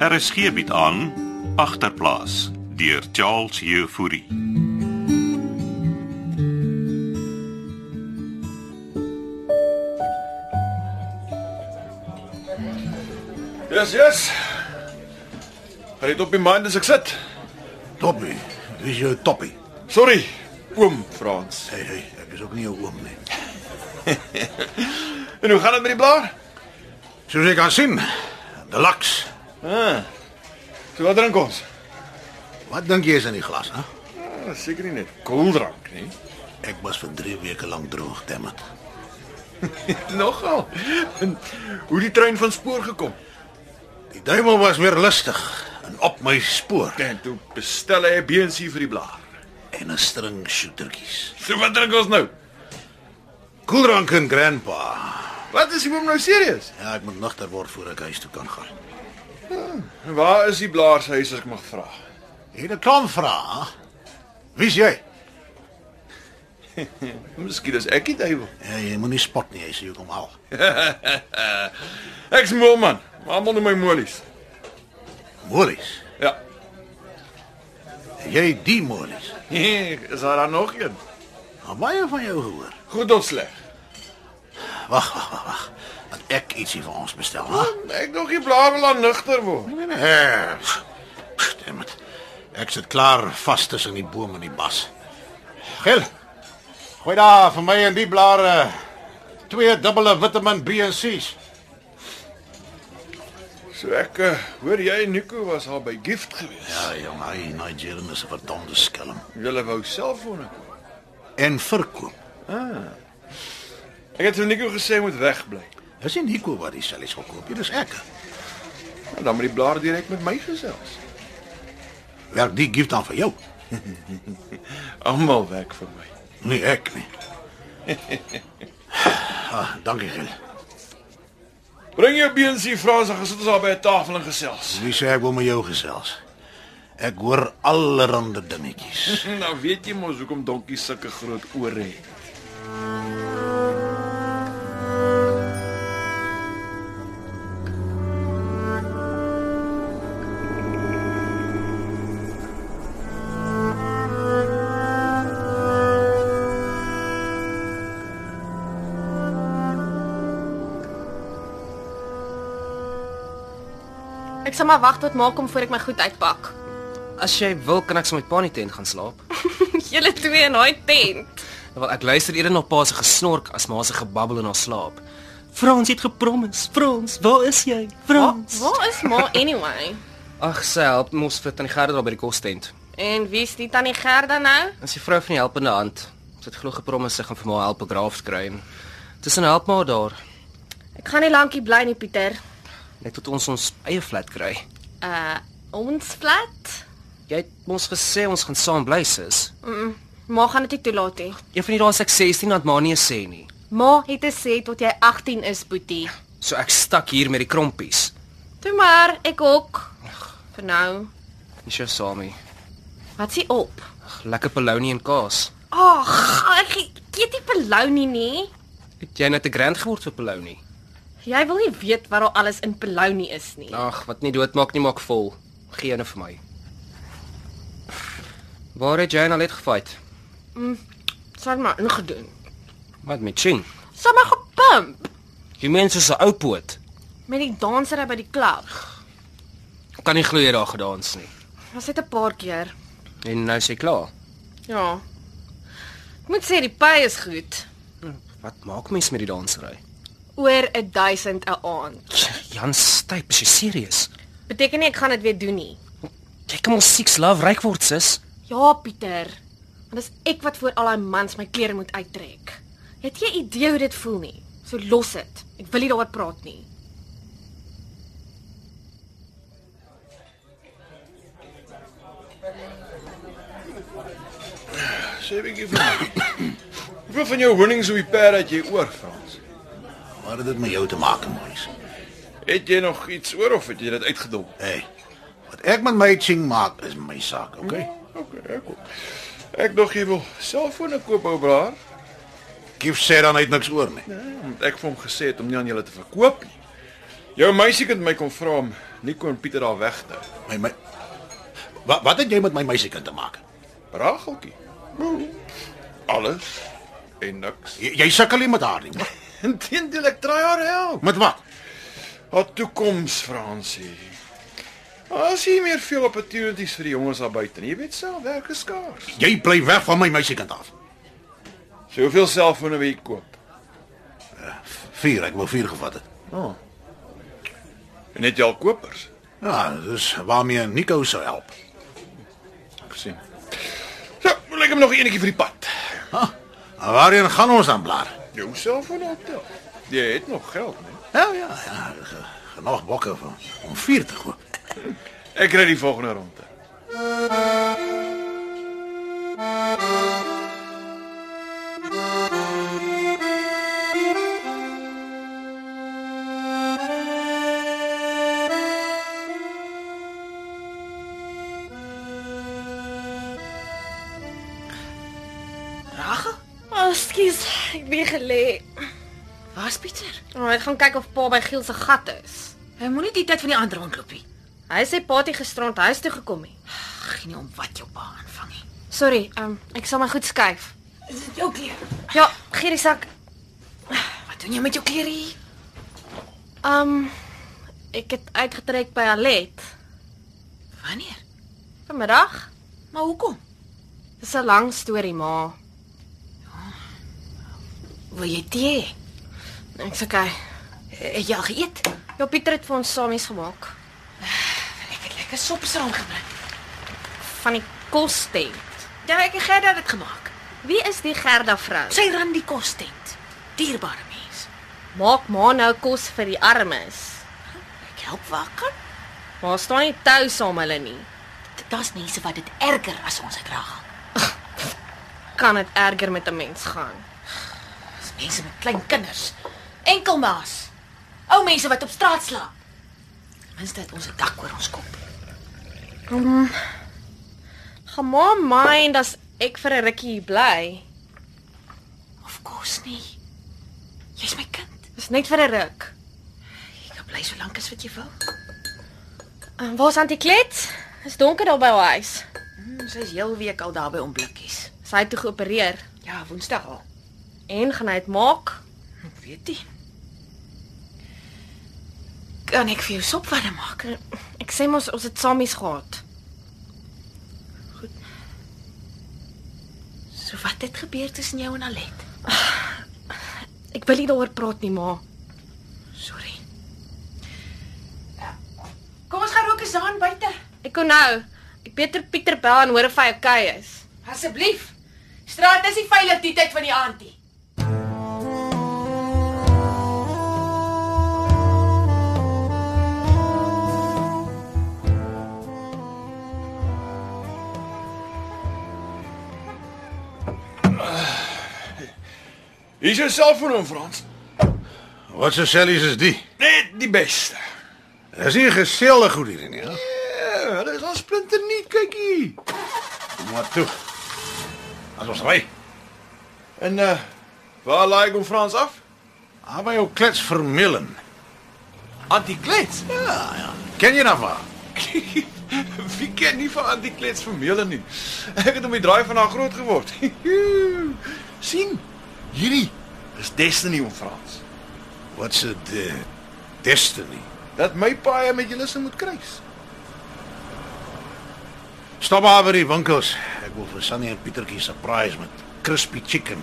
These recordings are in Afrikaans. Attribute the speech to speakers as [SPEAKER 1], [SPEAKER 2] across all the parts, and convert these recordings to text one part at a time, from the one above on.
[SPEAKER 1] RSG bied Er aan agterplaas deur Charles Jefouri.
[SPEAKER 2] Yes, yes. Red op die man as ek sit.
[SPEAKER 3] Toppie, dis jou toppie.
[SPEAKER 2] Sorry, oom Frans.
[SPEAKER 3] Hey, hey, ek is ook nie jou oom nie.
[SPEAKER 2] En hoe gaan dit met die blaar?
[SPEAKER 3] Soos jy kan sien, deluxe.
[SPEAKER 2] Toe wat drink ons?
[SPEAKER 3] Wat dink jy is in die glas, hè?
[SPEAKER 2] Ah, Seker nie net koeldrank nie.
[SPEAKER 3] Ek was vir 3 weke lank droog, dammit.
[SPEAKER 2] Nogal. En hoe die trein van spoor gekom?
[SPEAKER 3] Die duiwel was weer lustig en op my spoor
[SPEAKER 2] Ja, En toe bestel hy 'n BNC vir die blaar.
[SPEAKER 3] en 'n string shootertjies.
[SPEAKER 2] So wat drink ons nou?
[SPEAKER 3] Koeldrank en grandpa.
[SPEAKER 2] Wat is die oom nou serieus?
[SPEAKER 3] Ja, ek moet nigter word voor ek huis toe kan gaan.
[SPEAKER 2] En waar is die blaar se huis as ek mag vra?
[SPEAKER 3] Hier 'n klomp vrae. hè? Wie's jy?
[SPEAKER 2] Miskien is ek die duiwel.
[SPEAKER 3] Ja, jy moenie spot nie, jy sê jy kom al.
[SPEAKER 2] Ek's mooi man. maar Almal noem my molies.
[SPEAKER 3] Molies.
[SPEAKER 2] Ja.
[SPEAKER 3] Jy die molies.
[SPEAKER 2] Is daar dan nog een?
[SPEAKER 3] Maar baie van jou gehoor.
[SPEAKER 2] Goed of sleg?
[SPEAKER 3] Wag, wag, wag, wag. Want ek ietsie vir ons bestel, hè?
[SPEAKER 2] Ah, Ek nog nie blaar wil aan nigter word.
[SPEAKER 3] Nee, nee, nee. Stem dit. Ek sit klaar vas tussen die boom en die bas. Gil. Gooi daar vir my en die blare twee dubbele vitamine B en C's.
[SPEAKER 2] So ek eh, hoor jy en Nico was al by Gift gewees.
[SPEAKER 3] Ja, jong, hy Nigerian is 'n verdomde skelm.
[SPEAKER 2] Julle wou selfone koop.
[SPEAKER 3] En verkoop.
[SPEAKER 2] Ek het vir Nico gesê hy moet wegbly.
[SPEAKER 3] Dis nie Nico wat die sellies wil koop, dit is ek.
[SPEAKER 2] Nou, dan moet die blaar direk met my gesels.
[SPEAKER 3] Werk die gift dan vir jou.
[SPEAKER 2] Almal weg vir my.
[SPEAKER 3] Nee, ek nie. ah, dankie Gil.
[SPEAKER 2] Bring jou beens hier Frans, dan sit ons daar by 'n tafel en gesels.
[SPEAKER 3] Wie sê ek wil met jou gesels? Ek hoor allerlei dingetjies.
[SPEAKER 2] Nou weet jy mos hoekom donkies sulke groot ore het.
[SPEAKER 4] Ek sal maar wag tot ma kom voor ek my goed uitpak.
[SPEAKER 5] As jy wil, kan ek saam met Pa in die tent gaan slaap. Nou
[SPEAKER 4] Julle twee in daai tent.
[SPEAKER 5] Wel, ek luister eerder na Pa se gesnork as Ma se gebabbel in haar slaap. Frans, jy het gepromis. Frans, waar is jy?
[SPEAKER 4] Waar,
[SPEAKER 5] Frans.
[SPEAKER 4] waar is ma anyway?
[SPEAKER 5] Ag, sy help mos vir tannie Gerda daar by die kostent.
[SPEAKER 4] En wie's die tannie Gerda nou?
[SPEAKER 5] As die vrou van die helpende hand. Sy het glo gepromis sy gaan vir my help 'n graaf kry en tussen help maar daar
[SPEAKER 4] Ek gaan nie lankie bly nie, Pieter.
[SPEAKER 5] net tot ons ons eie flat kry.
[SPEAKER 4] Uh, ons flat.
[SPEAKER 5] Jy het ons gesê ons gaan saam bly sis.
[SPEAKER 4] Ma gaan dit nie toelaat nie.
[SPEAKER 5] Een van die dae as ek 16 dat ma nie eens sê nie.
[SPEAKER 4] Ma het gesê tot jy 18 is, Boetie.
[SPEAKER 5] So ek stak hier met die krompies.
[SPEAKER 4] Toe maar, ek hok. Vir nou.
[SPEAKER 5] Dis jou saamie.
[SPEAKER 4] Wat s'ie op?
[SPEAKER 5] Ag, Lekker bologna en kaas.
[SPEAKER 4] Ag, ek ek eet nie bologna nie. nee.
[SPEAKER 5] Het jy net 'n grand geword vir bologna?
[SPEAKER 4] Jy wil nie weet wat daar alles in bologna is nie.
[SPEAKER 5] Ag, wat nie doodmaak nie, maak vol. Gee eene vir my. Waar het jy nou net gefight?
[SPEAKER 4] Sal maar ingedoen.
[SPEAKER 5] Wat met Ching?
[SPEAKER 4] Sal maar gepump
[SPEAKER 5] Jy mens is 'n ou poot.
[SPEAKER 4] met die dansery by die klub.
[SPEAKER 5] Kan nie glo jy daar gedans nie.
[SPEAKER 4] Was dit 'n paar keer?
[SPEAKER 5] En nou is jy klaar.
[SPEAKER 4] Ja. Ek moet sê die pay is goed.
[SPEAKER 5] Wat maak mens met die dansery?
[SPEAKER 4] Oor 1000 'n aand.
[SPEAKER 5] Jan Styp, is jy serieus?
[SPEAKER 4] Beteken nie ek gaan dit weer doen nie.
[SPEAKER 5] Jy kan mos Six Love ryk word, sis.
[SPEAKER 4] Ja, Pieter. Want dis ek wat vir al daai mans my klere moet uittrek. Het jy idee hoe dit voel nie? So los dit. Ek wil nie daaroor praat nie.
[SPEAKER 2] Sê 'n bietjie vir my. Hoeveel van jou honings op die perd het jy oor Frans?
[SPEAKER 3] Wat het dit met jou te maak, Molies?
[SPEAKER 2] Het jy nog iets oor of het jy dit uitgedom?
[SPEAKER 3] Hey. Wat ek met my ching maak is my saak, okay?
[SPEAKER 2] Okay, ek kom. Ek dog jy wil selfone koop ou blaar.
[SPEAKER 3] Gif sê dan uit niks oor nie.
[SPEAKER 2] Hmm, Want ek vir hom gesê het om nie aan julle te verkoop nie. Jou meisie het my kom vra om Nico en Pieter daar weg nou.
[SPEAKER 3] My my Wat wat het jy met my meisiekind te maak?
[SPEAKER 2] Rageltjie. Boe. Alles en niks.
[SPEAKER 3] Jy, jy sukkel nie met haar nie.
[SPEAKER 2] Inteendeel, ek try haar help.
[SPEAKER 3] Met wat?
[SPEAKER 2] Haar toekoms, Fransie. As jy meer veel opportunities vir die jongens daar buite, nie. jy weet self, werk is skaars.
[SPEAKER 3] Jy bly weg van my meisiekind af.
[SPEAKER 2] So hoeveel selfone wil jy koop?
[SPEAKER 3] Vier, ek wou vier gevat het.
[SPEAKER 2] En net jy al kopers.
[SPEAKER 3] Ja, dis waarmee Nico sou help.
[SPEAKER 2] Ek sien. So, moet ek hom nog eenetjie vir die pad.
[SPEAKER 3] Ha? en Waarheen gaan ons dan blaar?
[SPEAKER 2] Jou selfoon optel. Jy het nog geld, nee.
[SPEAKER 3] Ja ja, ja ge- genoeg bokke om, om vier te gooi.
[SPEAKER 2] Ek ry die volgende ronde.
[SPEAKER 4] Ragel? Oh, skus, ek weer gelê.
[SPEAKER 6] Waar's Pieter?
[SPEAKER 4] Oh, ek gaan kyk of pa by Giel se gat is.
[SPEAKER 6] Hy moenie die tyd van die ander rondloop nie.
[SPEAKER 4] Hy sê pa het nie gisterand huis toe gekom nie.
[SPEAKER 6] Ag, nie om wat jou pa aanvang nie.
[SPEAKER 4] Sorry, ehm um, ek sal my goed skuif.
[SPEAKER 6] Is dit jou kleer?
[SPEAKER 4] Ja, gee die sak.
[SPEAKER 6] Wat doen jy met jou kleer hier?
[SPEAKER 4] Ehm um, ek het uitgetrek by Alet
[SPEAKER 6] Wanneer?
[SPEAKER 4] vanmiddag.
[SPEAKER 6] Maar hoekom?
[SPEAKER 4] Dis 'n lang storie, ma.
[SPEAKER 6] Ja. Wil jy tee? hê?
[SPEAKER 4] Ek's okay.
[SPEAKER 6] Eh, Het jy al geëet?
[SPEAKER 4] Ja, Pieter het vir ons samies gemaak
[SPEAKER 6] Ek het lekker sop saam gebring.
[SPEAKER 4] van die kostent.
[SPEAKER 6] Ja, ek en Gerda het dit gemaak.
[SPEAKER 4] Wie is die Gerda vrou? Sy
[SPEAKER 6] Sy ran die kostent. Dierbare mens.
[SPEAKER 4] maak ma nou kos vir die armes.
[SPEAKER 6] Ek help wakker.
[SPEAKER 4] Maar staan nie tou saam hulle nie.
[SPEAKER 6] Daar's mense wat dit erger as ons uitraag.
[SPEAKER 4] Kan dit erger met 'n mens gaan?
[SPEAKER 6] Dis mense met klein kinders. Enkelmaas. Ou mense wat op straat slaap. Minstens het ons 'n dak oor ons kop.
[SPEAKER 4] Gaan ma mind as ek vir 'n rukkie hier bly.
[SPEAKER 6] Of course nie. Jy's my kind.
[SPEAKER 4] Dis net vir 'n ruk.
[SPEAKER 6] Jy kan bly so lank as wat jy wil.
[SPEAKER 4] En waar's Antie Klet? Is donker daar by haar huis.
[SPEAKER 6] Hmm, sy is heel week al daar by om blikkies.
[SPEAKER 4] Sy het toe geopereer
[SPEAKER 6] Ja, Woensdag al.
[SPEAKER 4] en gaan hy dit maak?
[SPEAKER 6] Ek weet nie. Kan ek vir jou sop warm maak?
[SPEAKER 4] Ehm, Ek sê mos ons het samies gehad.
[SPEAKER 6] So wat het gebeur tussen jou en Alet?
[SPEAKER 4] Ek wil nie daaroor praat nie, ma.
[SPEAKER 6] Sorry. Ja. Kom ons gaan rook eens aan buite.
[SPEAKER 4] Ek kon nou. Ek beter Pieter bel en hoor of hy okay is.
[SPEAKER 6] Asseblief. Straat is nie veilig die tyd van die aand nie.
[SPEAKER 2] Hier is jou selfoon, oom Frans.
[SPEAKER 3] Wat se sellies is die?
[SPEAKER 2] Net die beste.
[SPEAKER 3] Is nie geselde goed hier nie, hè?
[SPEAKER 2] Ja, hulle is al splinter nie, kyk hier.
[SPEAKER 3] Kom maar toe. As ons ry,
[SPEAKER 2] En uh waar laai ek oom Frans af?
[SPEAKER 3] haal by jou klets vermelen.
[SPEAKER 2] Antiklets.
[SPEAKER 3] Ja, ja. Ken jy daarvan?
[SPEAKER 2] Wie ken nie van antiklets vermeel nie. Ek het om die draai van haar groot geword. sien?
[SPEAKER 3] Hierdie
[SPEAKER 2] Dis destiny oom Frans.
[SPEAKER 3] wat se de destiny.
[SPEAKER 2] Dat my paai met julle se moet kruis.
[SPEAKER 3] Stop maar by die winkels. Ek wil vir Sunny en Pietertjie surprise met crispy chicken.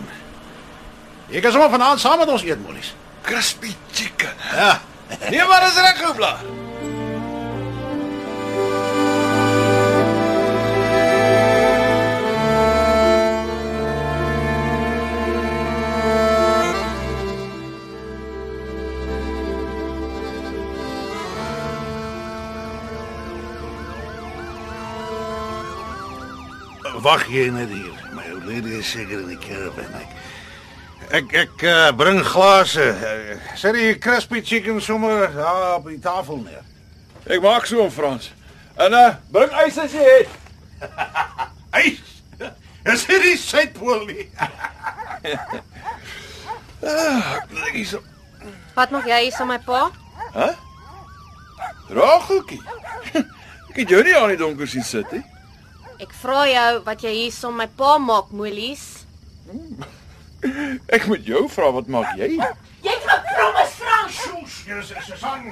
[SPEAKER 3] Jy kan sommer vanaand saam met ons eet, Mollies.
[SPEAKER 2] Crispy chicken.
[SPEAKER 3] Ja.
[SPEAKER 2] Nee, maar is reg gebla.
[SPEAKER 3] Wag jy net hier. My ou lady is seker in die caravan. Ek ek, ek uh, bring glase. Uh, sit die crispy chicken sommer daar op die tafel neer.
[SPEAKER 2] Ek maak so oom Frans. En uh bring ys as jy het.
[SPEAKER 3] Hey. Is dit die suidpool nie?
[SPEAKER 2] Ek hierso.
[SPEAKER 4] Wat maak jy hier saam met my pa?
[SPEAKER 2] Hæ? Rageltjie. Ek het jou nie aan die donker sien sit nie.
[SPEAKER 4] Ek vra jou wat jy hier som my pa maak, Molies.
[SPEAKER 2] Ek moet jou vra wat maak jy?
[SPEAKER 6] Jy het my promise vra.
[SPEAKER 3] Soos, hier is Susan.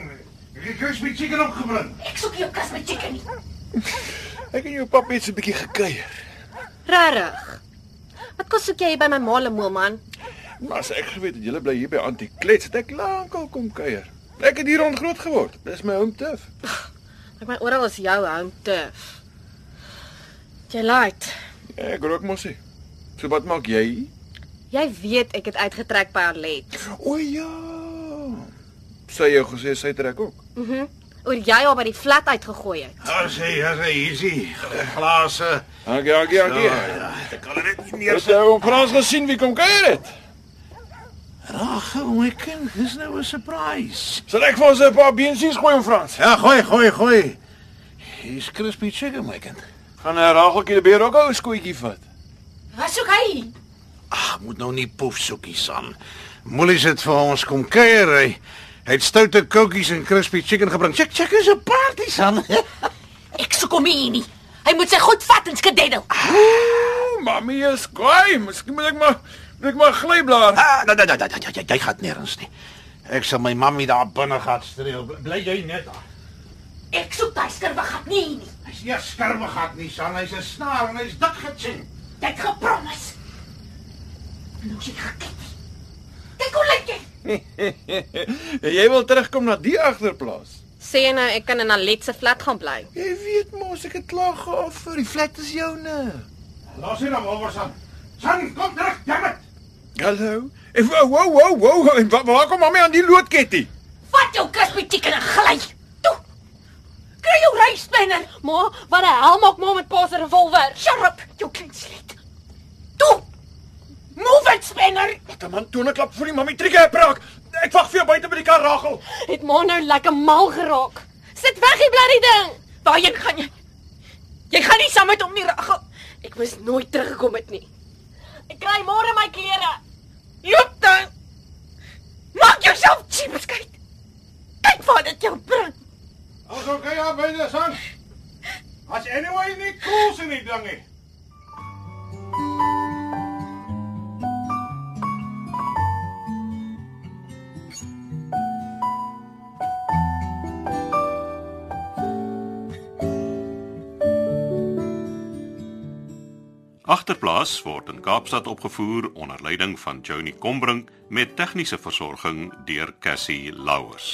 [SPEAKER 3] Jy kus my chicken opgebring.
[SPEAKER 6] Ek soek jou kas met chicken nie.
[SPEAKER 2] Ek en jou pappa het so 'n bietjie gekuier.
[SPEAKER 4] Regtig. Wat kos soek jy hier by my ma lemoe man?
[SPEAKER 2] Maar as ek geweet het jy bly hier by Antie Klets, het ek lankal kom kuier. Ek het hier rond groot geword. Dis my home turf.
[SPEAKER 4] Ek my oral is jou home turf. Jy lied.
[SPEAKER 2] Ek Ja, rook mosie. So wat maak jy?
[SPEAKER 4] Jy weet ek het uitgetrek by Alet.
[SPEAKER 2] O ja. Sy het jou gesê sy trek ook.
[SPEAKER 4] Mhm. Oor jy haar by die flat uitgegooi het.
[SPEAKER 3] Daar sê, daar sê, hier is hy. Glase.
[SPEAKER 2] Dankie, dankie,
[SPEAKER 3] Oh,
[SPEAKER 2] dankie.
[SPEAKER 3] Ek kan dit nie
[SPEAKER 2] Jy het hom Frans gesien wie kom kuier het.
[SPEAKER 3] Ag, my kind, dis nou 'n surprise.
[SPEAKER 2] Sal ek vir ons 'n paar beensies gooi in Frans?
[SPEAKER 3] Ja, gooi, gooi, gooi. Hier's crispy chicken, my kind.
[SPEAKER 2] Gaan 'n rageltjie die eh, beer ook ou skootjie vat.
[SPEAKER 6] Wat soek hy?
[SPEAKER 3] Ag, moet nou nie poef soekie san. Molly het vir ons kom kuier. Hy hy het stoute koekies en crispy chicken gebring. Check, check, is 'n party san.
[SPEAKER 6] Ek soek hom hier nie. Hy moet sy goed vat en skededdel.
[SPEAKER 2] Ooh, Mamy is kwaai. Miskien moet ek maar moet ek maar glyblaar.
[SPEAKER 3] ah, da, da, da, da, da, da, jy gaan nêrens nie. Ek sal my mammie daar binne gaan streel. Bl- Bly jy net daar.
[SPEAKER 6] Ek soek daai skurwe gat nie hier nie.
[SPEAKER 3] Hy's nie 'n skerwe gat nie, san. Hy's 'n snaar en hy's dik getsien.
[SPEAKER 6] Jy het gepromis. Nou sê gekyk. Kyk hoe lyk jy.
[SPEAKER 2] jy wil terugkom na die agterplaas.
[SPEAKER 4] Sê jy nou ek kan in Alet se flat gaan bly?
[SPEAKER 2] Jy weet mos ek het klaar geoffer. Die flat is joune.
[SPEAKER 3] Los hier hom oor san. San, kom terug, dammit.
[SPEAKER 2] Hallo. En wow wow wow wow. En wa- waar kom mamy aan die loodketting?
[SPEAKER 6] Vat jou kas met chicken en gly. Toe. Kry jou reispenner.
[SPEAKER 4] Ma, wat die hel maak ma met pa se revolver?
[SPEAKER 6] Sharp, jou klein slet. Toe. Move it, spenner.
[SPEAKER 2] Wat 'n man tone klap vir die mamy triekie praak. Ek wag vir jou buite by die kar Ragel.
[SPEAKER 4] Het ma nou lekker mal geraak. Sit weg die bloody ding.
[SPEAKER 6] Waarheen gaan jy? Jy gaan nie saam met hom nie, Ragel.
[SPEAKER 4] Ek moes nooit teruggekom het nie.
[SPEAKER 6] Ek kry môre my klere. Loop dan. Maak jouself cheap, skat. Kyk wat dit jou bring.
[SPEAKER 3] Ons okay daar binne san. As anyway nie koels in die ding nie.
[SPEAKER 1] Agterplaas word in Kaapstad opgevoer onder leiding van Johnny Combrink met tegniese versorging deur Cassie Louws.